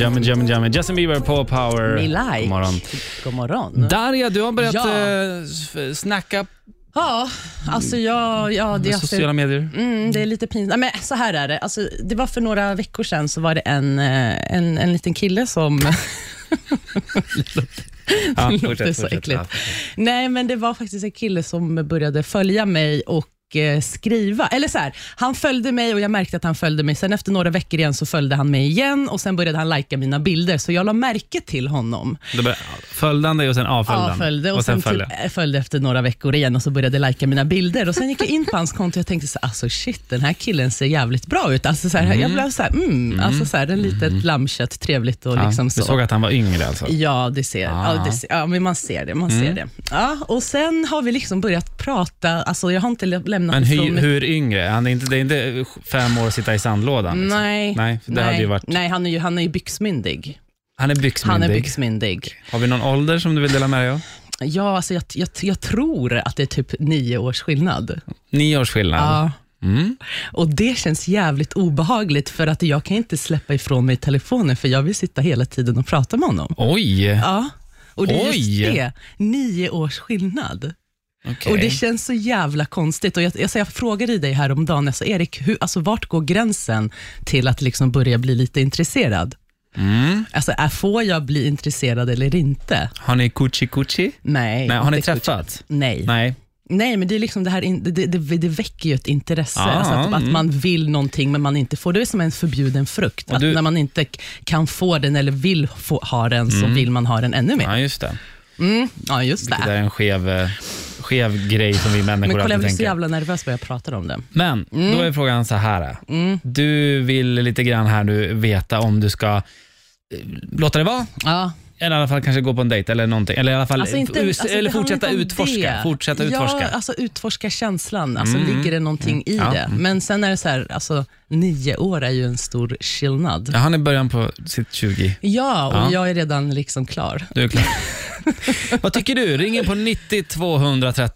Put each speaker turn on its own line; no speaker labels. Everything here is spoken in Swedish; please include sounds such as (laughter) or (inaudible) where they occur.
jammin, jammin, jammin. Justin Bieber på Power.
Me like.
God morgon.
God morgon.
Darja, du har börjat
Ja.
eh, s- snacka
Ja, alltså jag... Ja, det,
med
alltså,
sociala
(laughs)
medier.
mm, det är lite pinsamt. Nej, men så här är det. Alltså, det var för några veckor sedan så var det en, eh, en, en liten kille som... (laughs)
Ja,
låter så äckligt. Nej, men det var faktiskt en kille som började följa mig och eh, skriva. Eller så här, han följde mig och jag märkte att han följde mig. Sen efter några veckor igen så följde han mig igen och sen började han lajka mina bilder, så jag la märke till honom.
Då började- Följde han dig och sen avföljde han?
Avföljde och,
och sen
sen,
följde.
typ, eh, följde efter några veckor igen och så började jag lajka mina bilder. Och Sen gick jag in på hans konto och jag tänkte så här, alltså shit, den här killen ser jävligt bra ut. Alltså så här, Jag blev så här, mm, alltså så här, en litet lammkött, trevligt och
Mm. Ja,
liksom
du
så.
såg att Ah. han var yngre alltså?
Ja, det ser, ja, det ser, ja, men man ser det. Man
Mm.
ser det. Ja, och sen har vi liksom börjat prata, alltså jag har inte lä- lämnat
Men
ifrån
hur,
mig-
hur yngre? Han är inte, det är inte fem år att sitta i sandlådan? Liksom.
Nej,
Nej, för det
nej,
hade ju varit...
nej han, är ju, han är ju byxmyndig.
Han är byxmyndig.
Han är byxmyndig.
Har vi någon ålder som du vill dela med dig av?
Ja, alltså jag, jag, jag tror att det är typ nio års skillnad.
Nio års skillnad.
Ja.
Mm.
Och det känns jävligt obehagligt för att jag kan inte släppa ifrån mig telefonen för jag vill sitta hela tiden och prata med honom.
Oj!
Ja, och det är
Oj.
just det. Nio års skillnad.
Okej.
Och det känns så jävla konstigt. Och jag, alltså jag frågade dig häromdagen, alltså Erik, hur, alltså vart går gränsen till att liksom börja bli lite intresserad?
Mm.
Alltså, är, får jag bli intresserad eller inte?
Har ni kuchi kuchi?
Nej.
Nej, har ni
inte-
träffats?
Nej. Nej.
Nej.
men det är liksom det här, in, det, det, det väcker ju ett intresse.
Ah,
alltså att, att
mm.
man vill någonting men man inte får. Det är som en förbjuden frukt.
Och
Att
du-
när man inte k- kan få den eller vill få, ha den,
Mm.
så vill man ha den ännu mer.
Ja, just det.
Mm. Ja, just
Det där
det.
är en skev, eh, skev grej som vi
Men
människor
kolla, jag
alltid
blir så
tänker.
jävla Mm. nervös när jag pratar om det.
Men då är frågan så här.
Mm.
Du vill lite grann här nu veta om du ska eh, låta det vara,
Ja,
eller i alla fall kanske gå på en dejt eller någonting. Eller i alla fall
Alltså inte,
us-
alltså det
eller
handlar
fortsätta
inte om
utforska.
det.
Fortsätta
Ja,
utforska. Mm.
alltså utforska känslan. Alltså Ligger det någonting i
Ja. Mm.
det? Men sen är det så här, alltså, nio år är ju en stor skillnad.
Ja, han är i början på sitt 20.
Ja, och
Ja.
(laughs) jag är redan liksom klar.
Du är klar. Vad tycker du? Ring in på 90 213.